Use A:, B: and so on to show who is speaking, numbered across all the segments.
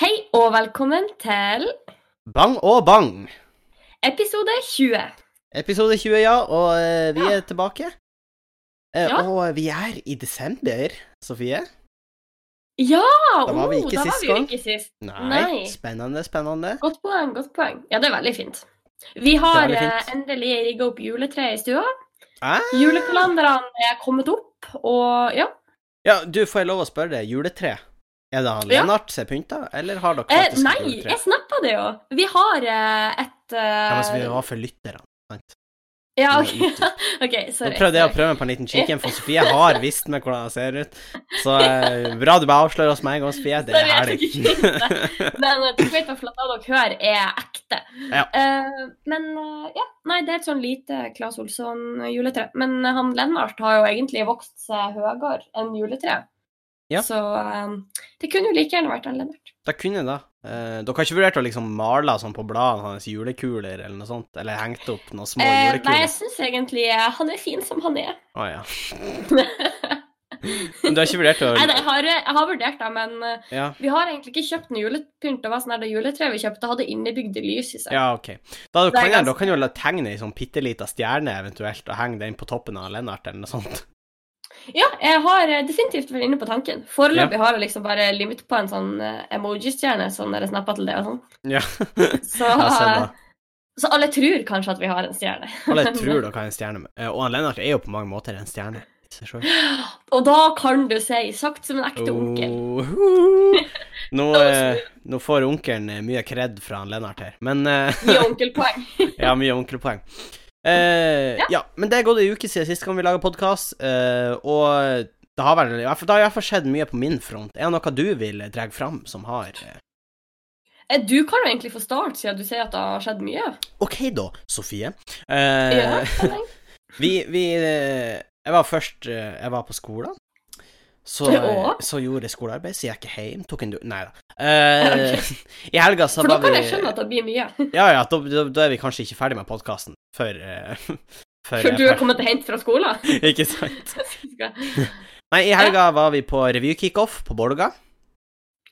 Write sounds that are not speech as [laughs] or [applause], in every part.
A: Hei og velkommen til
B: Bang og bang!
A: episode 20.
B: Episode 20, ja, og eh, vi
A: Ja.
B: er tilbake. Eh,
A: Ja.
B: Og vi er i desember, Sofie.
A: Ja! oh,
B: Da var vi ikke
A: da
B: sist
A: var vi jo
B: gang.
A: ikke sist.
B: Nei.
A: Nei.
B: Spennende, spennende.
A: Godt poeng, godt poeng. Ja, det er veldig fint. Vi har
B: Det er veldig
A: eh,
B: fint.
A: endelig rigga opp juletreet i stua.
B: Ah.
A: Julekalenderne er kommet opp, og ja.
B: Ja, du, får jeg lov å spørre deg, juletre? Er det han
A: Ja.
B: Lennart som er pynta, eller har dere
A: Eh,
B: faktisk
A: nei,
B: et juletre?
A: jeg snappa det jo. Vi har eh, et
B: Ja, men så vi
A: eh,
B: var for lytterne. sant?
A: Ja,
B: vi var
A: OK. [laughs] Ok,
B: Nå
A: sorry.
B: prøvde jeg å
A: sorry.
B: prøve meg på en liten kikken, for Sofie har visst meg hvordan jeg ser ut. Så eh, bra du bare avslører oss med en gang, Sofie. Det er
A: Sorry, jeg tok ikke
B: herlig.
A: Men eh, dere vet i hvert fall at det dere hører, er ekte.
B: Ja.
A: Eh, men eh, ja, nei, det er et sånn lite Claes Olsson-juletre. Men eh, han Lennart har jo egentlig vokst seg høyere enn juletreet.
B: Ja.
A: Så eh, det kunne jo like gjerne vært han Lennart.
B: Da kunne jeg da. Eh, dere har ikke vurdert å liksom male sånn på bladene hans julekuler eller noe sånt? Eller hengt opp noen små
A: Eh, nei, jeg
B: julekuler?
A: syns egentlig eh, han er fin som han er.
B: Å ja.
A: [laughs]
B: Men du har ikke vurdert å
A: Nei, jeg har, eh, jeg har vurdert det, men eh,
B: ja.
A: vi har egentlig ikke kjøpt noe julepynt. Det var sånn her, det juletreet vi kjøpte, hadde innebygde lys i seg.
B: ja, OK. Da
A: Det er
B: kan jeg,
A: ganske-
B: dere kan jo la tegne ei sånn bitte lita stjerne eventuelt, og henge den på toppen av Lennart eller noe sånt.
A: Ja, jeg har eh, definitivt vært inne på tanken. Foreløpig har jeg liksom bare limit på en sånn eh, emoji-stjerne som dere snappa til det og sånn.
B: Ja.
A: [laughs] Så,
B: Ja, se da.
A: så alle tror kanskje at vi har en stjerne.
B: Alle tror dere har en stjerne, eh, og han Lennart er jo på mange måter en stjerne. i seg selv.
A: [laughs] Og da kan du si, sagt som en ekte onkel
B: Oh. Nå,
A: [laughs] Da var
B: eh, nå får onkelen eh, mye kred fra han Lennart her, men eh,
A: Gi onkelpoeng.
B: Ja, mye onkelpoeng. Eh, ja. men det er gått ei uke siden sist gang vi laga podkast, eh, og det har vel i hvert fall- det har i hvert fall skjedd mye på min front. Er det noe du vil eh, dra fram som har eh,
A: Eh, Du kan jo egentlig få start, siden du sier at det har skjedd mye.
B: OK, da, Sofie. Eh,
A: Ja, jeg tenker.
B: Vi, vi eh, Jeg var først eh, Jeg var på skolen. Så, eh,
A: Ja.
B: så gjorde jeg skolearbeid, så gikk jeg hjem, tok en du... Nei da. Eh, I helga så
A: For da
B: var
A: kan
B: vi
A: jeg skjønne at det blir mye.
B: Ja ja, da, da, da er vi kanskje ikke ferdig med podkasten før eh, [laughs] før
A: For
B: jeg
A: du er
B: fer-
A: kommet hent fra skolen. [laughs]
B: [laughs] Ikke sant? Nei, i helga var vi på revykickoff på Bolga.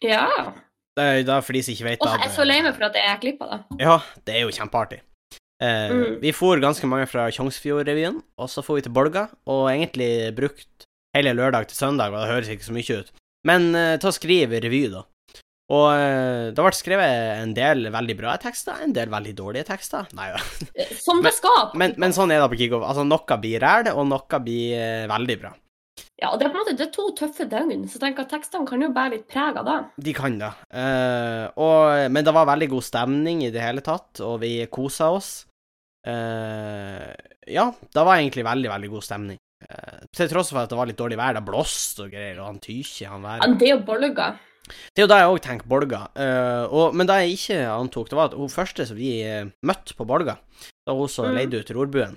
A: Ja.
B: Det er jo da for de som ikke vet
A: Og
B: da,
A: jeg er så lei meg for at jeg klippa det.
B: Ja, det er jo kjempeartig. Eh,
A: Mm.
B: Vi for ganske mange fra Tjongsfjordrevyen, og så for vi til Bolga, og egentlig brukt hele lørdag til søndag, og det høres ikke så mye ut. Men eh, ta og skriv revy, da. Og eh, det ble skrevet en del veldig bra tekster, en del veldig dårlige tekster. Nei da.
A: Eh, Som det skal.
B: Men, men sånn er det på kickoff. Altså, noe blir ræl, og noe blir eh, veldig bra.
A: Ja, og det er på en måte det er to tøffe døgn, så jeg tenker at tekstene kan jo bære litt preg av det.
B: De kan det. Eh, og, men det var veldig god stemning i det hele tatt, og vi kosa oss. Eh, ja, det var egentlig veldig, veldig god stemning. Eh, til tross for at det var litt dårlig vær, det blåste og greier, og han tykje, han været.
A: Men det er jo bolga.
B: Det er jo det jeg òg tenker, Bolga. Eh, og, men det jeg ikke antok, det var at hun første som vi eh, møtte på Bolga, da hun så
A: Mm.
B: leide ut rorbuen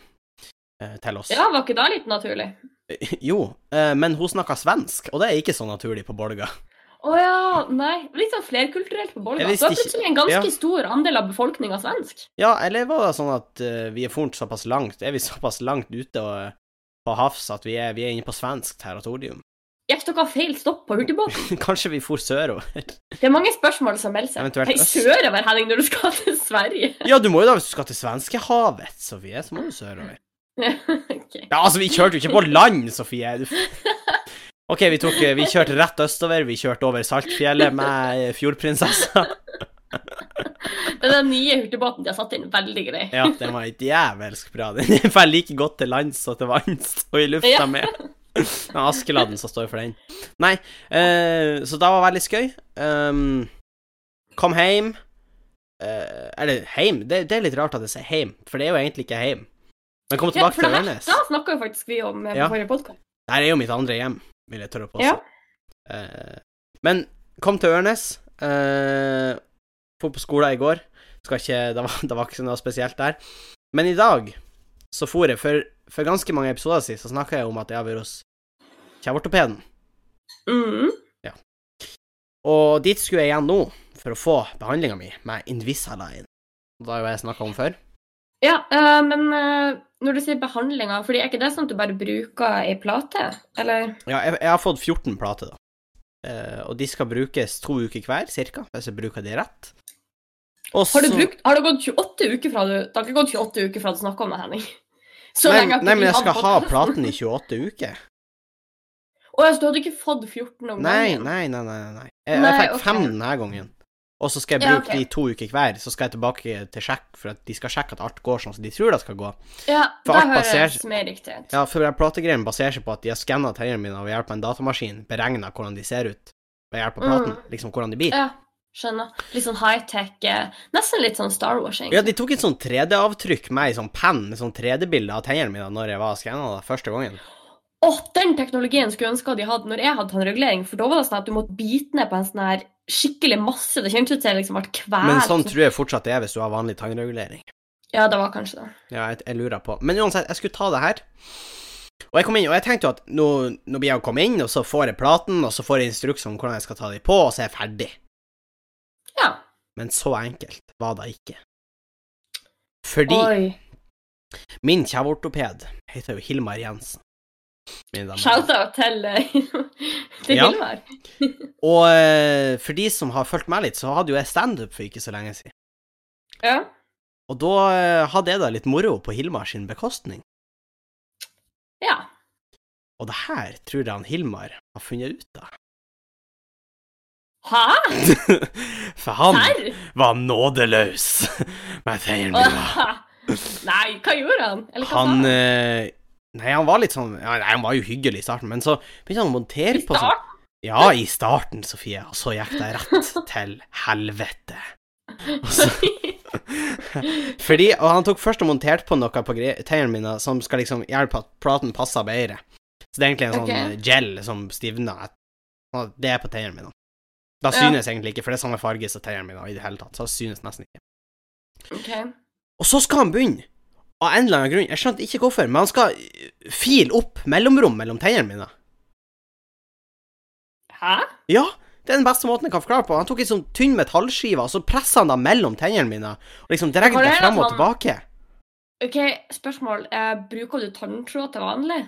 B: eh, til oss.
A: Ja, var ikke det litt naturlig?
B: [laughs] Jo, eh, men hun snakka svensk, og det er ikke så naturlig på Bolga.
A: Å ja, nei. Litt sånn flerkulturelt på bolga.
B: Jeg
A: Så
B: visste
A: er plutselig en ganske stor andel av befolkninga svensk.
B: Ja, eller var det sånn at eh, vi er fornt såpass langt, er vi [laughs] såpass langt ute og, eh, på havs at vi er, vi er inne på svensk territorium? [laughs]
A: Gikk dere feil stopp på hurtigbåten?
B: Kanskje vi for sørover? [laughs]
A: Det er mange spørsmål som melder seg.
B: Eventuelt
A: Hei,
B: øst.
A: sørover, Henning, når du skal til Sverige. [laughs]
B: ja, du må jo da, hvis du skal til svenskehavet, Sofie, så må du sørover.
A: Ok.
B: Ja, altså, vi kjørte jo ikke på land, Sofie! Du... f- OK, vi, tok, eh, vi kjørte rett østover, vi kjørte over Saltfjellet med eh, Fjordprinsessa.
A: Det er den nye hurtigbåten de har satt inn. Veldig grei.
B: Ja, den var et jævelsk bra. [laughs] Den får like godt til lands og til vanns og i
A: Ja.
B: lufta med. Det er Askeladden som står for den. Nei, eh, så det var veldig skøy. Um, kom heim. Eh, eller heim, det, det er litt rart at jeg sier heim, for det er jo egentlig ikke heim. Men kom
A: Ja,
B: tilbake
A: for
B: til
A: det her,
B: Ørnes.
A: da snakka jo faktisk vi om eh, på
B: Ja.
A: forrige podkast.
B: Det her er jo mitt andre hjem, vil jeg tørre å påstå.
A: Ja.
B: Eh, men kom til Ørnes. Uh, for på skolen i går. Skal ikke, det, var, det var ikke noe spesielt der. Men i dag så for jeg For, for ganske mange episoder siden så snakka jeg om at jeg har vært hos kjeveortopeden.
A: Mm.
B: Og dit skulle jeg igjen nå for å få behandlinga mi med Invisalign. Det har jo jeg snakka om før.
A: Ja, eh, men eh, når du sier behandlinga, fordi er ikke det sånn at du bare bruker ei plate, eller?
B: Ja, jeg, jeg har fått 14 plater, da. eh, og de skal brukes to uker hver, cirka, hvis jeg bruker de rett.
A: Har, du brukt, har det gått 28 uker fra du Det har ikke gått 28 uker fra du snakka om det, Henning. Så
B: Nei,
A: lenge at
B: nei, men
A: vi
B: jeg
A: hadde
B: skal ha
A: podcasten.
B: platen i 28 uker.
A: Å ja, så du hadde ikke fått 14 om
B: Nei,
A: gangen?
B: nei, nei. nei, nei. Jeg, jeg
A: Nei,
B: fikk
A: ok.
B: fem denne gangen. Og så skal jeg
A: Ja,
B: bruke
A: ok.
B: de to uker hver, så skal jeg tilbake til sjekk, for at de skal sjekke at alt går sånn som de tror det skal gå.
A: Ja,
B: For
A: da
B: alt
A: høres
B: baserer-
A: mer riktig ut.
B: Ja, for den plategreien baserer seg på at de har skanna tennene mine ved hjelp av en datamaskin, beregna hvordan de ser ut ved hjelp av platen,
A: Mm.
B: liksom hvordan de blir.
A: Ja, skjønner. Litt sånn high-tech. eh, Nesten litt sånn Star Wars,
B: Ja,
A: egentlig.
B: de tok et sånn 3D-avtrykk med ei sånn penn, med sånn 3D-bilde av tennene mine når jeg var skanna da første gangen.
A: Å, den teknologien skulle jeg ønske at de hadde når jeg hadde tannregulering, for da var det sånn at du måtte bite ned på en sånn her skikkelig masse. Det kjentes ut som jeg liksom ble kvalt.
B: Men sånn tror jeg fortsatt det er hvis du har vanlig tannregulering.
A: Ja, det var kanskje det.
B: Ja, jeg, jeg lurer på. Men uansett, jeg skulle ta det her. Og jeg kom inn, og jeg tenkte jo at nå, nå blir jeg å komme inn, og så får jeg platen, og så får jeg instruks om hvordan jeg skal ta de på, og så er jeg ferdig.
A: Ja.
B: Men så enkelt var det ikke. Fordi
A: Oi.
B: min kjeveortoped heter jo Hilmar Jensen. Mine damer og herrer.
A: Shout-out til, eh, [laughs] til
B: Ja.
A: Hilmar.
B: Og eh, for de som har fulgt meg litt, så hadde jo jeg standup for ikke så lenge siden.
A: Ja.
B: Og da eh, hadde jeg da litt moro på Hilmar sin bekostning.
A: ja.
B: Og det her tror jeg han Hilmar har funnet ut av.
A: Hæ?
B: For han
A: Serr?
B: var nådeløs [laughs] med feilen min. var.
A: [laughs] Nei, hva gjorde han? Eller hva sa
B: Han
A: han?
B: eh, Nei, han var litt sånn ja, Nei, han var jo hyggelig i starten, men så begynte han å montere
A: I
B: på sånn
A: starten?
B: Ja, i starten, Sofie, og så gikk det
A: [laughs]
B: rett til helvete. Og så Fordi, og han tok først og monterte på noe på gre- tennene mine som skal liksom hjelpe at platen passer bedre. Så det er egentlig en sånn
A: Ok.
B: eh, gel som stivner. et- og Det er på tennene mine. Da
A: Ja.
B: synes egentlig ikke, for det er samme farge som tennene mine i det hele tatt. Så det synes nesten ikke.
A: [laughs] Ok.
B: Og så skal han begynne, av en eller annen grunn, jeg skjønte ikke hvorfor, men han skal eh, file opp mellomrom mellom tennene mine.
A: Hæ?
B: Ja, det er den beste måten jeg kan forklare på. Han tok en sånn tynn metallskive, og så presset han da mellom tennene mine, og liksom dregget
A: Var det
B: det
A: at
B: frem og
A: han-
B: tilbake.
A: Ok, spørsmål. Eh, bruker du tanntråd til vanlig?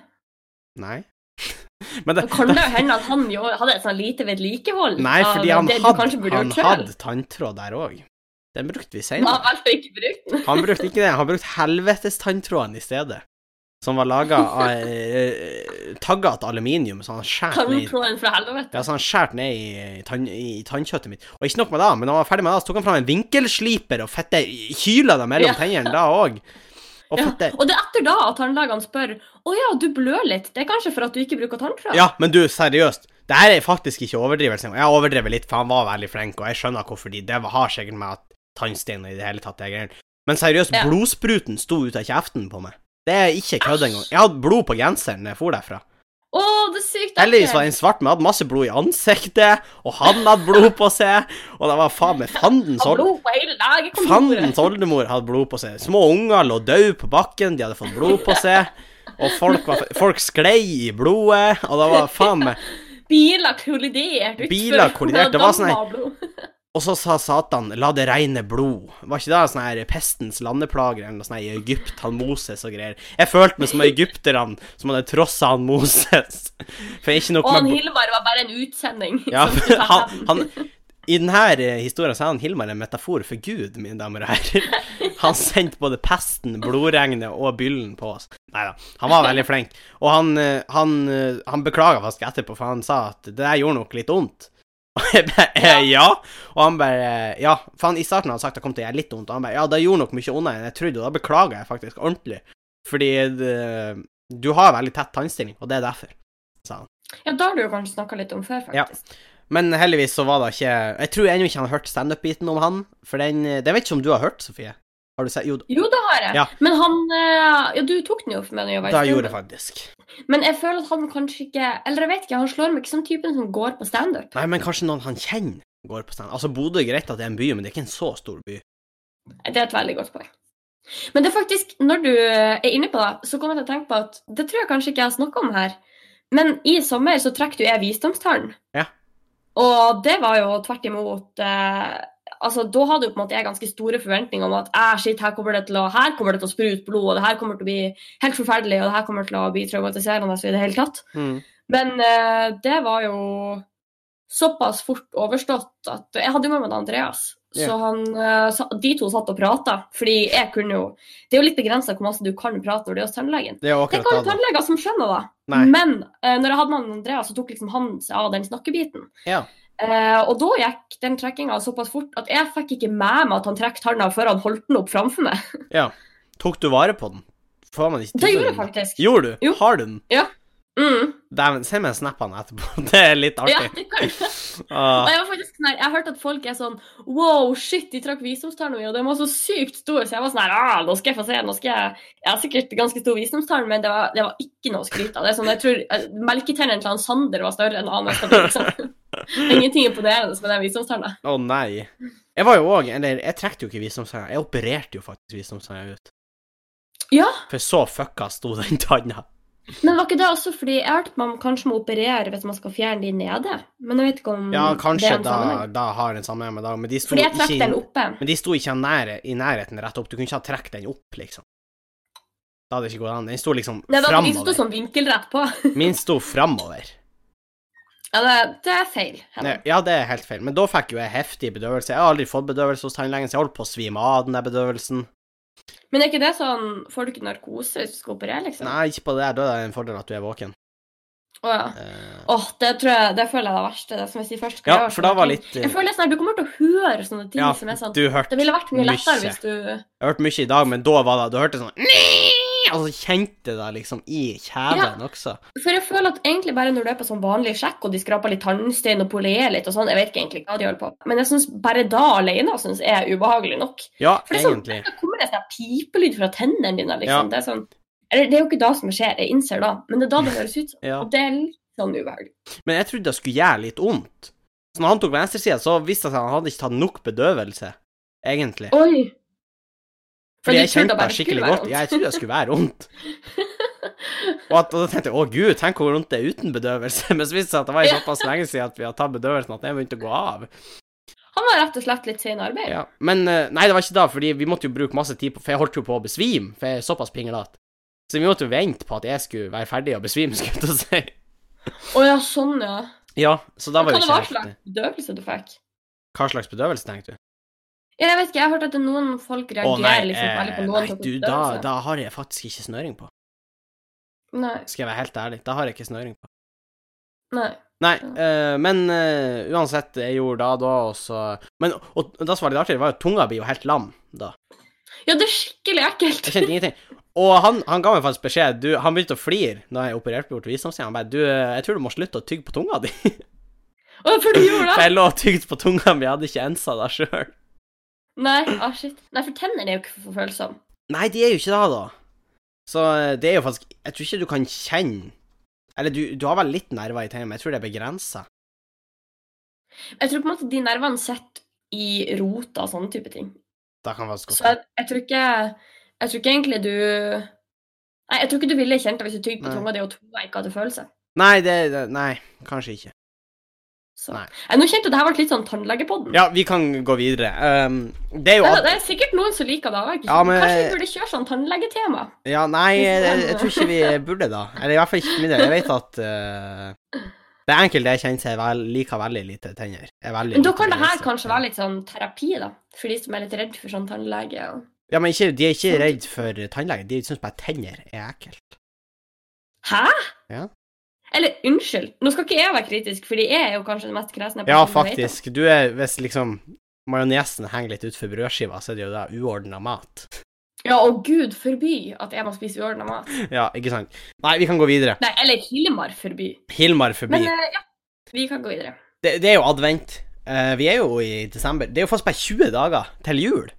B: Nei. [laughs] Men
A: Da kan det jo hende at han jo hadde et sånn lite vedlikehold.
B: Nei,
A: av
B: fordi han
A: det du kanskje
B: hadde,
A: burde
B: han
A: gjort selv.
B: hadde tanntråd der òg. Den brukte vi
A: Men [laughs] han
B: senere.
A: valgte å ikke bruke den.
B: Han brukte ikke det, han brukte helvetes tanntråden i stedet. Som var laga av eh, tagga til aluminium, så han skjærte ned, i-
A: Tanntråden fra helvete.
B: ja, så han skjært ned i, i, tann, i tannkjøttet mitt. Og ikke nok med det, men da han var ferdig med det, så tok han fram en vinkelsliper og fette kyla det mellom
A: Ja.
B: tennene da òg. Og
A: Ja,
B: fette
A: og det er etter da at tannlegene spør Å ja, du blør litt. Det er kanskje for at du ikke bruker tanntråd?
B: Ja, men du, seriøst. Det her er faktisk ikke overdrivelse. engang. Jeg overdrev litt, for han var veldig flink, og jeg skjønner hvorfor de Det har sikkert med at tannsteiner i det hele tatt det er greier. Men seriøst,
A: Ja.
B: blodspruten sto ut av kjeften på meg. Det er ikke kødd engang. Jeg hadde blod på genseren da jeg for derfra.
A: Å, det er sykt
B: Heldigvis var den svart, men jeg hadde masse blod i ansiktet, og han hadde blod på seg, og det var faen meg fandens
A: Har
B: hold...
A: blod på hele legekontoret.
B: Fandens oldemor hadde blod på seg. Små unger lå døde på bakken, de hadde fått blod på seg. Og folk, var, folk sklei i blodet, og det var faen meg
A: Biler kollidert utfor.
B: Biler kollidert, det var sånn her-
A: Dammet av blod.
B: Og så sa Satan, la det regne blod. Var ikke det sånn her pestens landeplager eller noe sånt her i Egypt, han Moses og greier? Jeg følte meg som egypterne som hadde trossa han Moses. For ikke nok
A: Og han
B: med
A: Hilmar var bare en utsending.
B: ja,
A: som skulle ta
B: [laughs] han,
A: hevn.
B: han, I denne historien så er han Hilmar en metafor for Gud, mine damer og herrer. Han sendte både pesten, blodregnet og byllen på oss. Nei da, han var veldig flink. Og han, eh, han, eh, han beklaga faktisk etterpå, for han sa at det der gjorde nok litt vondt. [laughs] Og jeg bare eh, ja. Og han bare eh, ja. For han, i starten hadde han sagt at det kom til å gjøre litt vondt, og han bare ja, det gjorde nok mye vondere enn jeg trodde, og da beklager jeg faktisk ordentlig. Fordi det, du har veldig tett tannstilling, og det er derfor.
A: Ja, da har du jo kanskje snakka litt om før,
B: Ja.
A: faktisk.
B: Men heldigvis så var det ikke Jeg tror ennå ikke han har hørt standup-biten om han. For den Den vet ikke om du har hørt, Sofie? Har du sett Jo,
A: Jo, det har jeg.
B: Ja.
A: Men han eh, Ja, du tok den jo for meg da jeg var
B: da
A: i
B: gjorde jeg
A: Storbritannina.
B: faktisk
A: Men jeg føler at han kanskje ikke Eller jeg vet ikke, han slår meg ikke som typen som går på standup.
B: Nei, men kanskje noen han kjenner, går på standup. Altså, Bodø er greit at det er en by, men det er ikke en så stor by.
A: Det er et veldig godt poeng. Men det er faktisk, når du er inne på det, så kommer jeg til å tenke på at det tror jeg kanskje ikke jeg har snakka om her, men i sommer så trakk du jeg visdomstallen.
B: Ja.
A: Og det var jo tvert imot eh, Altså, da hadde jo på en måte jeg ganske store forventninger om at «Ah, shit, her kommer det til å, her kommer det til å sprute blod, og det her kommer til å bli helt forferdelig, og det her Mm. kommer til å bli traumatiserende i det hele tatt. Men eh, det var jo såpass fort overstått at Jeg hadde jo med meg Andreas.
B: Ja.
A: Så han, eh, sa- de to satt og prata. Fordi jeg kunne jo Det er jo litt begrensa hvor masse du kan prate når du er hos tannlegen.
B: Det er jo
A: Det er
B: akkurat
A: ikke alle
B: det. da.
A: tannleger som skjønner det.
B: Nei.
A: Men eh, når jeg hadde med han Andreas, så tok liksom han seg av den snakkebiten.
B: Ja.
A: Eh, og da gikk den trekkinga såpass fort at jeg fikk ikke med meg at han trekk tanna før han holdt den opp framfor meg.
B: Tok du vare på den? Får man ikke
A: Det
B: til
A: gjorde jeg
B: den?
A: faktisk.
B: Gjorde du?
A: Jo.
B: Har du den?
A: Mm.
B: Dæven, send meg en snap av den etterpå. [laughs] Det er litt
A: Ja,
B: artig.
A: det kan du. Og
B: Ah,
A: jeg var faktisk sånn her, jeg hørte at folk er sånn Wow, shit, de trakk visdomstanna mi, og den var så sykt stor, så jeg var sånn her ah, Nå skal jeg få se, nå skal jeg Jeg har sikkert ganske stor visdomstann, men det var, det var ikke noe å skryte av. Det er sånn, jeg tror eh, Melketennene til han Sander var større enn han Østaby, liksom. Ingenting imponerende med den visdomstanna.
B: Å nei. Jeg var jo òg Eller, jeg trekte jo ikke visdomstenna. Jeg opererte jo faktisk visdomstenna ut.
A: Ja.
B: For så fucka sto den tanna.
A: Men var ikke det også fordi jeg hørte at man kanskje må operere hvis man skal fjerne de nede? Men jeg vet ikke om
B: Ja,
A: Mm, det
B: kanskje
A: er en
B: da,
A: sammenheng.
B: da har en sammenheng med det, men de sto
A: Fordi jeg
B: ikke
A: trakk
B: i-
A: den oppe.
B: Men de sto ikke nære, i nærheten rett opp. Du kunne ikke ha trukket den opp, liksom. Da hadde det ikke gått an. Den sto liksom
A: Nei, da, de sto
B: framover.
A: sånn vinkelrett på.
B: Min sto framover.
A: Ja, det, det er feil. Henning.
B: Ja, det er helt feil. Men da fikk jo jeg heftig bedøvelse. Jeg har aldri fått bedøvelse hos tannlegen, så jeg holdt på å svime av av den der bedøvelsen.
A: Men er ikke det sånn Får du ikke narkose hvis du skal operere, liksom?
B: Nei, ikke på det der. Da er det en fordel at du er våken.
A: Å, ja.
B: Eh,
A: Åh, det tror jeg Det føler jeg er det verste. Det som jeg sier først.
B: ja, for da var litt eh,
A: Jeg føler sånn her, Du kommer til å høre sånne ting
B: Ja,
A: som er sånn
B: du hørte
A: Det ville vært mye lettere
B: mye.
A: hvis du
B: Jeg hørte mye i dag, men da var det Du hørte sånn «Nii!» Og så kjente jeg det liksom i kjeven også.
A: For jeg føler at egentlig bare når du er på sånn vanlig sjekk, og de skraper litt tannstein og polerer litt og sånn Jeg vet ikke egentlig hva de holder på med, men jeg synes bare da alene synes jeg er ubehagelig nok.
B: Ja,
A: For det er sånn,
B: egentlig.
A: da kommer det en sånn pipelyd fra tennene dine,
B: Ja.
A: liksom. Det er sånn Eller det er jo ikke da som det skjer, jeg innser da, men det er da
B: [laughs]
A: det høres ut.
B: Ja.
A: Og det er litt sånn ubehagelig.
B: Men jeg trodde det skulle gjøre litt vondt. Så når han tok venstresida, så visste jeg at han hadde ikke tatt nok bedøvelse, egentlig.
A: Oi!
B: Fordi
A: du
B: jeg
A: trodde
B: kjente
A: bare
B: det
A: det
B: skikkelig
A: skulle være
B: godt.
A: vondt.
B: Ja, jeg trodde det skulle være vondt. Og, at, og da tenkte jeg å gud, tenk hvor vondt det er uten bedøvelse. [laughs] Men så viste det seg at det var
A: Ja.
B: såpass lenge siden at vi hadde tatt bedøvelsen at den begynte å gå av.
A: Han var rett og slett litt sen i arbeid.
B: Ja. Men eh, nei, det var ikke da, fordi vi måtte jo bruke masse tid på For jeg holdt jo på å besvime, for jeg er såpass pinglete. Så vi måtte jo vente på at jeg skulle være ferdig og besvime, skulle jeg til å si.
A: Å ja, sånn, ja.
B: Ja, så da
A: Hva
B: var jo
A: det var
B: ikke
A: slags
B: helt
A: bedøvelse du fikk?
B: Hva slags bedøvelse tenkte du?
A: Ja, Jeg vet ikke, jeg har hørt at det er noen folk
B: Å
A: reagerer
B: nei,
A: liksom veldig
B: eh,
A: på noen
B: nei
A: type
B: du, da,
A: bedøvelse.
B: da har jeg faktisk ikke snøring på.
A: Nei,
B: Skal jeg være helt ærlig, da har jeg ikke snøring på.
A: nei.
B: Nei,
A: Ja.
B: eh, men eh, uansett, jeg gjorde da da, og så Men og, og det som var litt artig, det var jo at tunga blir jo helt lam da.
A: Ja, det er skikkelig
B: [laughs]
A: ekkelt.
B: Jeg kjente ingenting. Og han, han ga meg faktisk beskjed du, Han begynte å flire da jeg opererte bort visdomstida. Han bare Du, eh, jeg tror du må slutte å tygge på tunga di.
A: Å, for du gjorde
B: For
A: det?
B: jeg lå og tygde på tunga mi, jeg hadde ikke ensa det sjøl.
A: Nei, ah, shit. Nei, for tennene er jo ikke for følsomme.
B: Nei, de er jo ikke det, da. Så eh, det er jo faktisk Jeg tror ikke du kan kjenne Eller du, du har vel litt nerver i tennene, men jeg tror det er begrensa.
A: Jeg tror på en måte de nervene sitter i rota og sånne type ting.
B: Da kan faktisk
A: Så
B: godt
A: jeg, jeg tror ikke Jeg tror ikke egentlig du Nei, jeg tror ikke du ville kjent det hvis du tygde på
B: Nei.
A: tunga di og tunga ikke hadde følelse.
B: Nei, det, det Nei, kanskje ikke.
A: Så.
B: Nei.
A: Nei, nå kjente jeg det her ble litt sånn tannlegepodden.
B: Ja, vi kan gå videre. Um, det er jo
A: Det,
B: at
A: det er sikkert noen som liker det. jeg vet ikke.
B: Ja, men-
A: Kanskje vi burde kjøre sånn tannlegetema?
B: Ja, nei,
A: Hvis
B: jeg,
A: den-
B: jeg tror ikke vi burde, da. Eller i hvert fall ikke for min del. Jeg vet at eh, det er enkelte jeg kjenner som er vel, liker veldig lite tenner. Er veldig
A: Men da
B: lite
A: kan det her
B: begeistret.
A: kanskje være litt sånn terapi, da. For de som er litt redd for sånn tannlege. og-
B: Ja, men ikke, de er
A: Sånn.
B: ikke redd for tannlege. De syns bare tenner er ekkelt.
A: Hæ?
B: Ja.
A: Eller unnskyld, nå skal ikke jeg være kritisk, fordi jeg er jo kanskje den mest kresne
B: Ja,
A: personen jeg vet om.
B: faktisk. Du er Hvis liksom majonesen henger litt utfor brødskiva, så er det jo da uordna mat. [laughs]
A: Ja, og gud forby at jeg må spise uordna mat.
B: Ja, ikke sant. Nei, vi kan gå videre.
A: Nei, eller Hilmar forby.
B: Hilmar forbi.
A: Men eh, ja, vi kan gå videre.
B: det, det er jo advent. Eh, vi er jo i desember. Det er jo faktisk bare 20 dager til jul.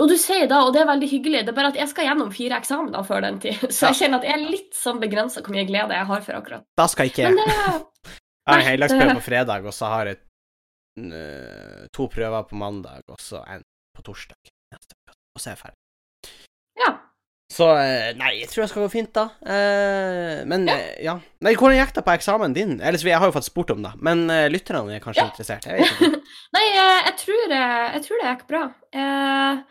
A: Og du sier da, og det er veldig hyggelig, det er bare at jeg skal gjennom fire eksamener før den tid, [laughs] så jeg kjenner at jeg er litt sånn begrensa hvor mye glede jeg har for akkurat.
B: Da skal ikke
A: Men det
B: Jeg har en
A: Nei,
B: heldagsprøve
A: det-
B: på fredag, og så har jeg øh, to prøver på mandag, og så en på torsdag. neste uke, Og så er jeg ferdig.
A: Ja.
B: Så øh, nei, jeg tror det skal gå fint, da. Eh, men ja. ja. Nei, hvordan gikk det på eksamen din? Ellers, jeg har jo fått spurt om det, men øh, lytterne er kanskje
A: Ja.
B: interessert?
A: [laughs]
B: Jeg vet ikke.
A: Nei, eh, jeg tror, eh, jeg tror det gikk bra. Eh,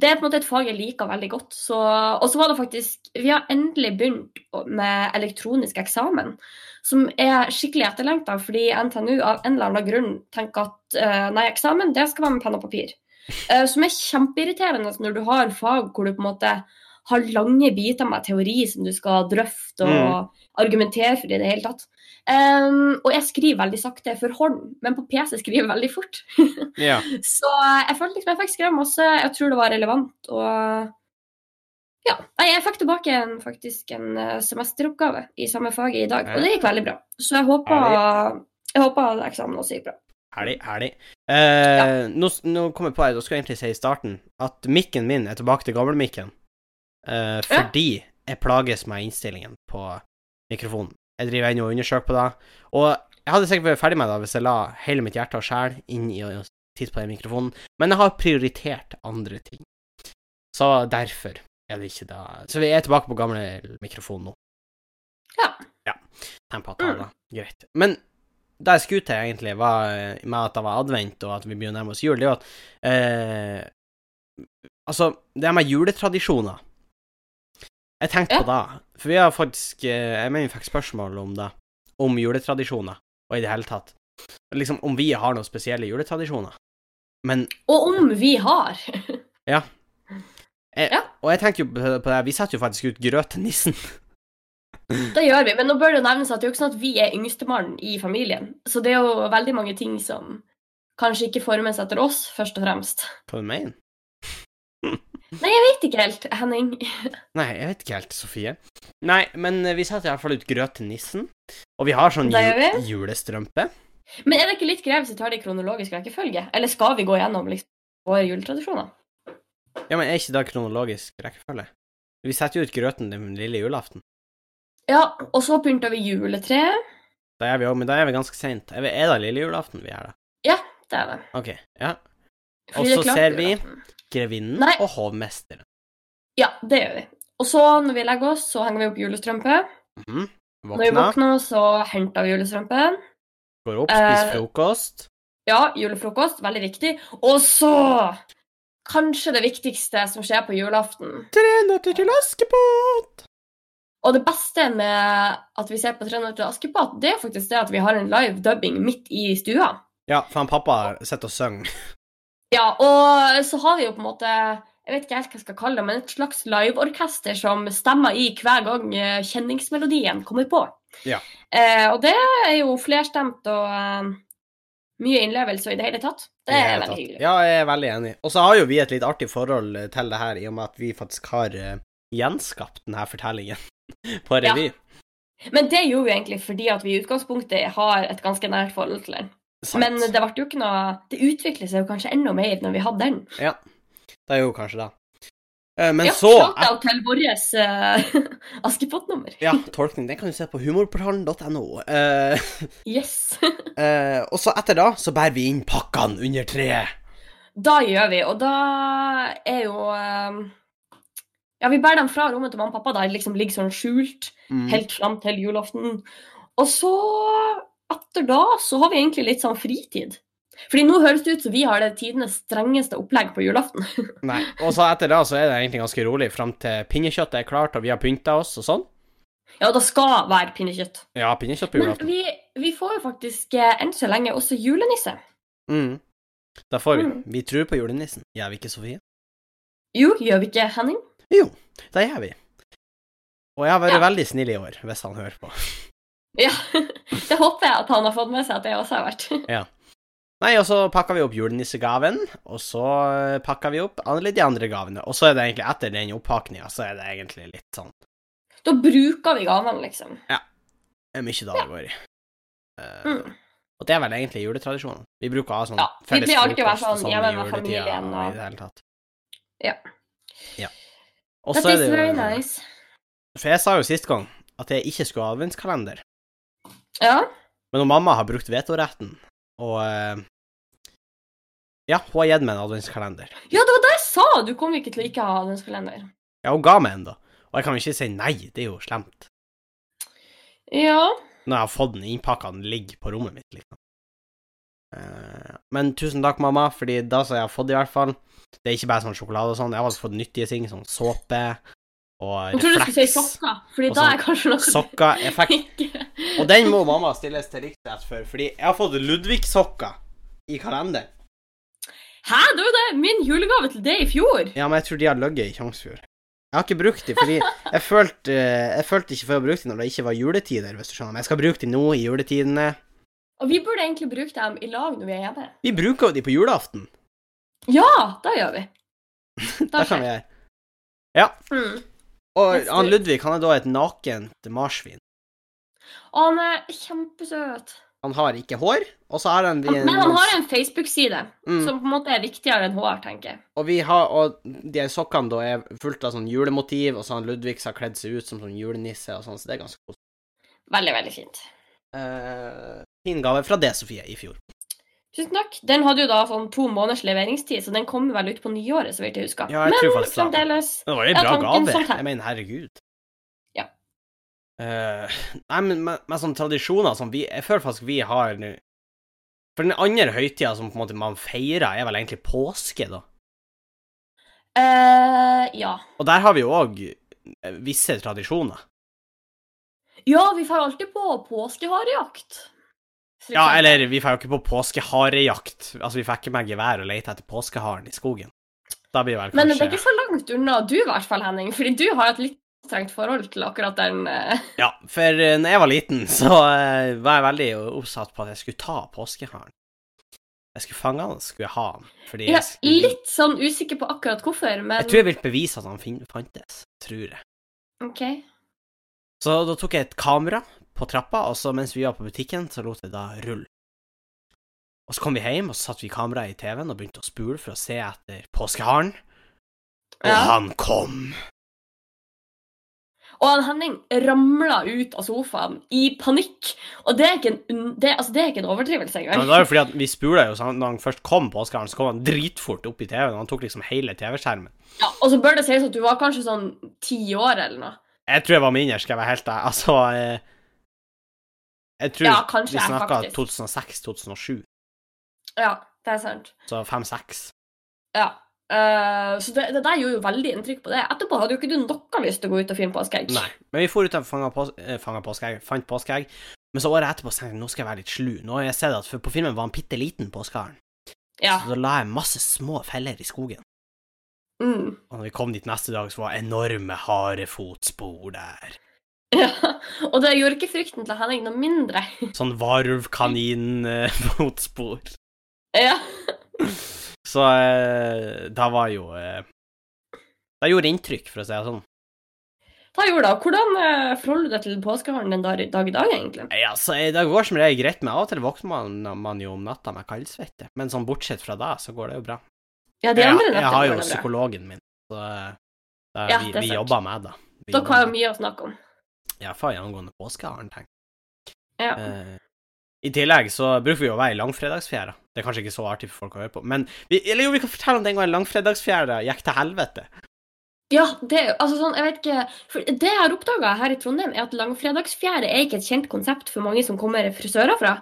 A: Det er på en måte et fag jeg liker veldig godt. Så, og så var det faktisk Vi har endelig begynt å- med elektronisk eksamen. som er skikkelig etterlengta, fordi NTNU av en eller annen grunn tenker at eh, nei, eksamen det skal være med penn og papir. Eh, som er kjempeirriterende når du har fag hvor du på en måte har lange biter med teori som du skal drøfte og argumentere for i det hele tatt. Em, og jeg skriver veldig sakte for hånd, men på PC skriver jeg veldig fort.
B: Ja.
A: Så jeg følte liksom jeg fikk skrevet masse. Jeg tror det var relevant. Og ja. Nei, jeg fikk tilbake en, faktisk en eh, semesteroppgave i samme fag i dag, og det gikk veldig bra. Så jeg håper, jeg håper eksamen også gikk bra.
B: Herlig, herlig. Eh, nå, s- nå kom jeg på her, da skulle jeg egentlig si i starten, at mikken min er tilbake til gamlemikken. Uh, fordi jeg plages med innstillingen på mikrofonen. Jeg driver ennå og undersøker på det. Og jeg hadde sikkert vært ferdig med det hvis jeg la hele mitt hjerte og sjel inn i å å titte på den mikrofonen, men jeg har prioritert andre ting. Så derfor er det ikke det. Så vi er tilbake på gamle mikrofon nå.
A: Ja.
B: Ja. Tempo at det er da. Greit. Men det jeg skulle til, egentlig, var eh, med at det var advent, og at vi begynner å nærme oss jul, det er jo at eh, Altså, det her med juletradisjoner Jeg tenkte på det, for vi har faktisk eh, Jeg mener vi fikk spørsmål om det, om juletradisjoner, og i det hele tatt. Liksom om vi har noen spesielle juletradisjoner. Men
A: Og om vi har [laughs]
B: Og jeg tenker jo på på det, her, vi setter jo faktisk ut grøt til [laughs] nissen.
A: Det gjør vi, men nå bør det jo nevnes at det er jo ikke sånn at vi er yngstemann i familien. Så det er jo veldig mange ting som kanskje ikke formes etter oss, først og fremst.
B: På den veien.
A: Jeg vet ikke helt, Henning.
B: Nei, jeg vet ikke helt, Sofie. Nei, men eh, vi setter i hvert fall ut grøt til nissen. Og vi har sånn
A: Det gjør
B: ju julestrømpe.
A: Men er det ikke litt greit hvis vi tar det i kronologisk rekkefølge? Eller skal vi gå gjennom liksom, våre juletradisjoner?
B: Ja, men er ikke det kronologisk rekkefølge? Vi setter jo ut grøten den lille julaften.
A: Ja, og så pynter vi juletreet.
B: Da er vi òg, men da er vi ganske seint. Er vi- er det lille julaften vi er, da?
A: Det er det.
B: OK. Ja.
A: Fordi
B: Og
A: det er
B: så
A: klart
B: ser vi-
A: julaften.
B: Grevinnen
A: Nei.
B: og hovmesteren.
A: Ja, det gjør vi. Og så når vi legger oss, så henger vi opp julestrømpe.
B: Mhm.
A: Når vi
B: Våkna,
A: våkner, så henter vi julestrømpen.
B: går opp, spiser
A: Eh,
B: frokost.
A: Ja, julefrokost. Veldig viktig. Og så Kanskje det viktigste som skjer på julaften.
B: Tre nøtter til Askepott!
A: Og det beste med at vi ser på Tre nøtter til Askepott, det er faktisk det at vi har en live dubbing midt i stua.
B: Ja, for han pappa sitter og synger.
A: Ja, og så har vi jo på en måte jeg vet ikke helt hva jeg skal kalle det, men et slags liveorkester som stemmer i hver gang eh, kjenningsmelodien kommer på.
B: Ja.
A: Eh, og det er jo flerstemt og eh, mye innlevelse i det hele tatt. Det
B: i
A: er
B: hele
A: veldig
B: tatt.
A: hyggelig.
B: Ja, jeg er veldig enig. Og så har jo vi et litt artig forhold til det her, i og med at vi faktisk har eh, gjenskapt denne fortellingen [laughs] på
A: Ja.
B: revy.
A: Men det gjorde vi egentlig fordi at vi i utgangspunktet har et ganske nært forhold til den.
B: Sant.
A: Men det ble jo ikke noe Det utviklet seg jo kanskje enda mer når vi hadde den.
B: Det er jo kanskje det. Eh, Men
A: ja,
B: så
A: Shoutout til vårt [laughs] Askepott-nummer.
B: Ja, [laughs] tolkning. Den kan du se på humorportalen.no. Eh,
A: Yes.
B: eh, og så etter da, så bærer vi inn pakkene under treet.
A: Da gjør vi, og da er jo eh, Ja, vi bærer dem fra rommet til mamma og pappa, da de liksom ligger sånn skjult
B: Mm.
A: helt fram til julaften. Og så, etter da, så har vi egentlig litt sånn fritid. Fordi nå høres det ut som vi har det tidenes strengeste opplegg på julaften.
B: Nei. Og så etter da, så er det egentlig ganske rolig fram til pinnekjøttet er klart, og vi har pynta oss og sånn.
A: Ja, det skal være pinnekjøtt.
B: Ja, pinnekjøtt på
A: Men
B: julaften.
A: vi, vi får jo faktisk eh, enn så lenge også julenisse.
B: Mm. Da får vi.
A: Mm.
B: Vi tror på julenissen. Gjør vi ikke, Sofie?
A: Jo, gjør vi ikke, Henning?
B: Det gjør vi. Og jeg har vært
A: Ja.
B: veldig snill i år, hvis han hører på.
A: Ja, [laughs] Det håper jeg at han har fått med seg at jeg også har vært.
B: Nei, og så pakka vi opp julenissegaven, og så pakka vi opp alle de andre gavene. Og så er det egentlig etter den oppakninga, så er det egentlig litt sånn
A: Da bruker vi gavene, liksom.
B: Det er mye da det går i. Eh,
A: Mm.
B: Og det er vel egentlig juletradisjonen. Vi bruker å ha sånn
A: Ja, vi
B: felles
A: pleier alltid å være
B: frokost og
A: sånn hjemme
B: i
A: med
B: juletida
A: familien og-
B: i det hele tatt.
A: Ja.
B: Ja. Og
A: That
B: så er
A: is
B: det
A: very
B: jo
A: nice.
B: For jeg sa jo sist gang at jeg ikke skulle ha adventskalender,
A: Ja,
B: men når mamma har brukt vetoretten, og eh, Ja, hun har gitt meg en adventskalender.
A: ja, det var det jeg sa! Du kommer ikke til å ikke ha adventskalender.
B: Ja, hun ga meg en, da. Og jeg kan jo ikke si nei, det er jo slemt.
A: Ja.
B: Når jeg har fått den innpakka, den ligger på rommet mitt, liksom. Eh, Men tusen takk, mamma, fordi da som jeg har fått det, i hvert fall Det er ikke bare sånn sjokolade og sånn, jeg har også fått nyttige ting, sånn såpe og
A: Jeg trodde du skulle si
B: refleks.
A: sokker, Fordi
B: Og
A: da
B: sånn-
A: er kanskje noe
B: Sokker. Jeg fikk
A: [laughs] ikke
B: Og den må mamma stilles til riksrett for, fordi jeg har fått Ludvig-sokker i kalenderen.
A: Hæ, det var det min julegave til deg i fjor!
B: Ja, men jeg tror de har ligget i Tjongsfjord. Jeg har ikke brukt de, fordi jeg følte, eh, jeg følte ikke for å bruke de når det ikke var juletider, hvis du skjønner. Men jeg skal bruke de nå, i juletidene.
A: Og vi burde egentlig bruke dem i lag når vi er hjemme.
B: Vi bruker jo de på julaften.
A: Ja, da gjør vi. Da
B: [laughs] Det kan vi
A: skjer.
B: gjøre.
A: Mm.
B: Og
A: Neste-
B: han Ludvig, han er da et nakent marsvin.
A: Og han er kjempesøt.
B: Han har ikke hår, og så har han de
A: Men han har en Facebook-side
B: Mm.
A: som på en måte er viktigere enn HR, tenker jeg.
B: Og vi har, og de her sokkene da er fullt av sånn julemotiv, og så han Ludvig har kledd seg ut som sånn julenisse og sånn, så det er ganske koselig.
A: Veldig, veldig fint.
B: Eh, fin gave fra det, Sofie, i fjor.
A: Tusen takk. Den hadde jo da sånn to måneders leveringstid, så den kommer vel ut på nyåret, så vidt jeg husker.
B: Ja, jeg
A: Men
B: tror faktisk det.
A: fremdeles
B: Det var jo
A: Ja, tanken som tar-
B: Jeg mener, herregud.
A: Ja.
B: Eh, nei, men men- men sånne tradisjoner som vi Jeg føler faktisk vi har nå For den andre høytida som på en måte man feirer, er vel egentlig påske, da.
A: eh, Ja.
B: Og der har vi jo òg visse tradisjoner.
A: Ja, vi får alltid på påskeharejakt. For
B: Ja,
A: eksempel.
B: eller vi får jo ikke på påskeharejakt. Altså, vi får ikke med gevær og lete etter påskeharen i skogen. Da blir det vel
A: Men
B: kanskje
A: det er ikke så langt unna du, i hvert fall, Henning, fordi du har et litt strengt forhold til akkurat den eh,
B: Ja, for eh, når jeg var liten, [laughs] så eh, var jeg veldig oppsatt på at jeg skulle ta påskeharen. Jeg skulle fange han, skulle jeg ha han.
A: [laughs]
B: Fordi
A: Jeg
B: jeg,
A: er
B: skulle...
A: litt sånn usikker på akkurat hvorfor, men
B: jeg tror jeg ville bevise at han fin fantes. Tror jeg.
A: OK.
B: Så da tok jeg et kamera på trappa, og så mens vi var på butikken, så lot jeg da rulle. Og så kom vi hjem, og så satte vi kameraet i TV-en og begynte å spule for å se etter påskeharen. Og
A: Ja.
B: han kom!
A: Og han Henning ramla ut av sofaen i panikk. Og det er ikke en, unn- det, altså, det er ikke en overdrivelse
B: Ja,
A: engang.
B: men det var jo fordi at vi spula jo, så han, når han først kom på Oscaren, så kom han dritfort opp i TV-en, og han tok liksom hele TV-skjermen.
A: Ja, og så bør det sies at du var kanskje sånn ti år eller noe.
B: Jeg tror jeg var mindre, skal jeg være helt ærlig. Altså eh, Jeg tror
A: Ja, kanskje
B: vi
A: jeg,
B: snakka
A: faktisk.
B: 2006-2007,
A: Ja, det er sant.
B: så fem-seks.
A: Ja. Eh, så det, det der gjorde jo veldig inntrykk på det. Etterpå hadde jo ikke du noe lyst til å gå ut og finne påskeegg.
B: Nei. Men vi for ut og fanga pås eh, fanga påskeegg, fant påskeegg. Men så året etterpå så tenkte jeg nå skal jeg være litt slu. Nå har jeg sett at for på filmen var han bitte liten påskeharen,
A: Ja.
B: så da la jeg masse små feller i skogen.
A: Mm. [laughs]
B: Og når vi kom dit neste dag, så var det enorme harefotspor der.
A: ja. Og det gjorde ikke frykten til Henning noe mindre. [laughs]
B: Sånn eh, [laughs] varulvkaninfotspor.
A: ja.
B: Så eh, da var jo eh, Det gjorde inntrykk, for å si det sånn.
A: Da gjorde det. Hvordan eh, forholder du deg til påskeharen den dag, dag i dag, egentlig?
B: Nei, altså, eh, det går som regel greit, men av og til våkner man, man jo om natta med kaldsvette. Men sånn bortsett fra det, så går det jo bra.
A: Ja, de
B: Jeg,
A: andre
B: jeg
A: nettene
B: har
A: går
B: jo
A: det bra.
B: psykologen min, så eh, det,
A: Ja,
B: vi,
A: det er
B: vi
A: sant.
B: jobber med det. Vi
A: Dere har jo
B: jobber med det.
A: mye å snakke om.
B: Ja, faen, angående påskeharen, tenk.
A: Ja.
B: Eh, I tillegg så bruker vi jo å være i langfredagsfjæra. Det er kanskje ikke så artig for folk å høre på, men vi, Eller jo, vi kan fortelle om den gangen langfredagsfjæra gikk til helvete.
A: Ja, det er jo- altså sånn, jeg vet ikke for Det jeg har oppdaga her i Trondheim, er at langfredagsfjære er ikke et kjent konsept for mange som kommer fra sørafra.